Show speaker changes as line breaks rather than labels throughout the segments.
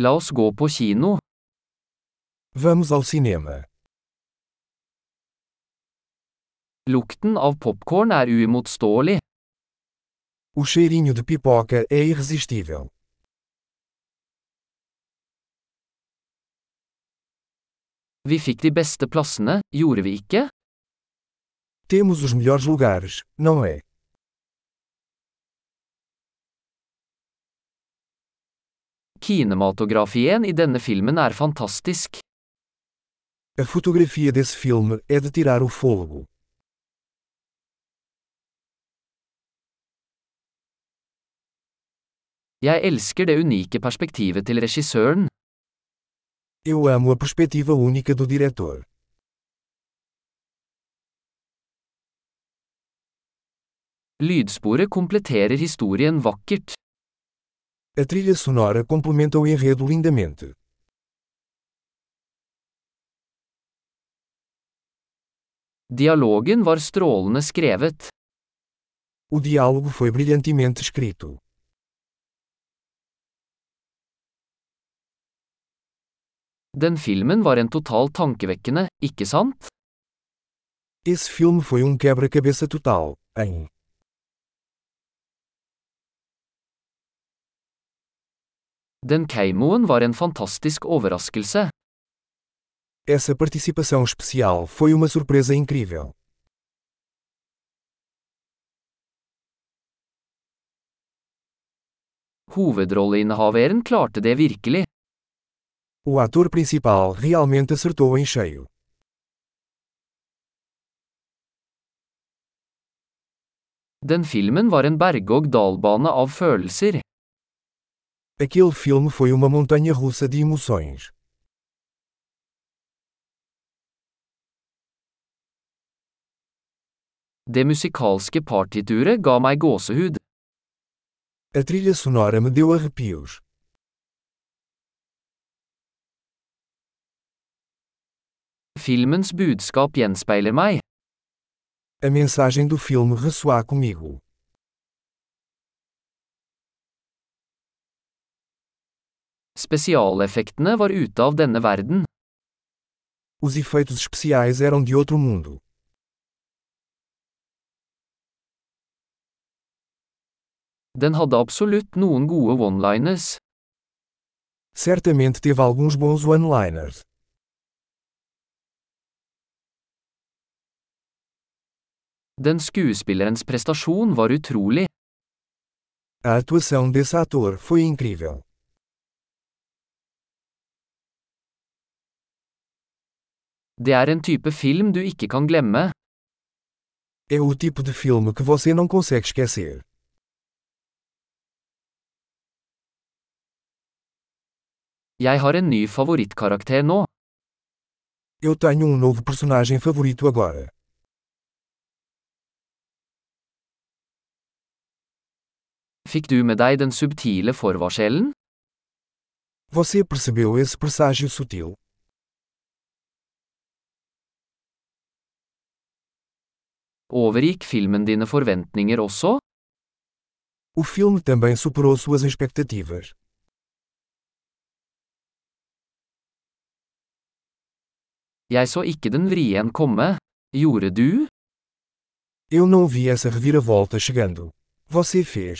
La oss gå på kino.
Vamos ao cinema.
Lukten av popkorn er uimotståelig.
O cheirinho de pipoca é irresistível.
Vi fikk de beste plassene, gjorde vi ikke?
Temos os melhores lugares, não é?
Kinematografien i denne filmen er fantastisk.
A fotografia desse filme é de tirar o fôlego.
Jeg elsker det unike perspektivet til regissøren.
Eu amo a perspectiva única do diretor.
Lydsporet kompletterer historien vakkert.
A trilha sonora complementa o enredo lindamente.
Dialogen var strålende skrevet.
O diálogo foi brilhantemente escrito.
Den filmen var en totalt tankevekkende, ikke sant?
Esse filme foi um quebra-cabeça total, hein?
Den keimoen var en fantastisk overraskelse.
Essa participação especial foi uma surpresa incrível.
Hovedrolleinnehaveren klarte det virkelig.
O ator principal realmente acertou em cheio.
Den filmen var en berg-og-dal-bane av følelser.
Aquele filme foi uma montanha russa de emoções.
Det musikalske partituret ga meg gåsehud.
A trilha sonora me deu arrepios.
Filmens budskap gjenspeiler meg.
A mensagem do filme ressoar comigo.
Spesialeffektene var ute av denne verden.
Os efeitos especiais eram de outro mundo.
Den hadde absolutt noen gode one-liners.
Certamente teve alguns bons one-liners.
Den skuespillerens prestasjon var utrolig.
A atuação desse ator foi incrível.
Det er en type film du ikke kan glemme.
É o tipo de filme que você não consegue esquecer.
Jeg har en ny favorittkarakter nå.
Eu tenho um novo personagem favorito agora.
Fikk du med deg den subtile forvarselen?
Você percebeu esse presságio sutil?
Overgikk filmen dine forventninger også?
O filme também superou suas expectativas.
Jeg så ikke den vrien komme. Gjorde du?
Eu não vi essa reviravolta chegando. Você fez.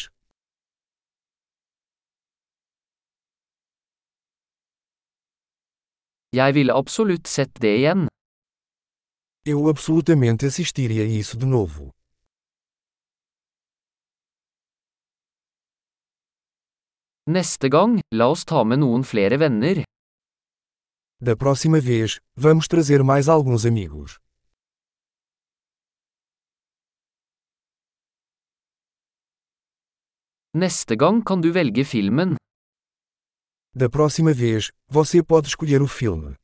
Jeg ville absolutt sett det igjen.
Eu absolutamente assistiria isso de novo.
Neste gang, la oss ta med noen flere venner.
Da próxima vez, vamos trazer mais alguns amigos.
Neste gang kan du velge filmen.
Da próxima vez, você pode escolher o filme.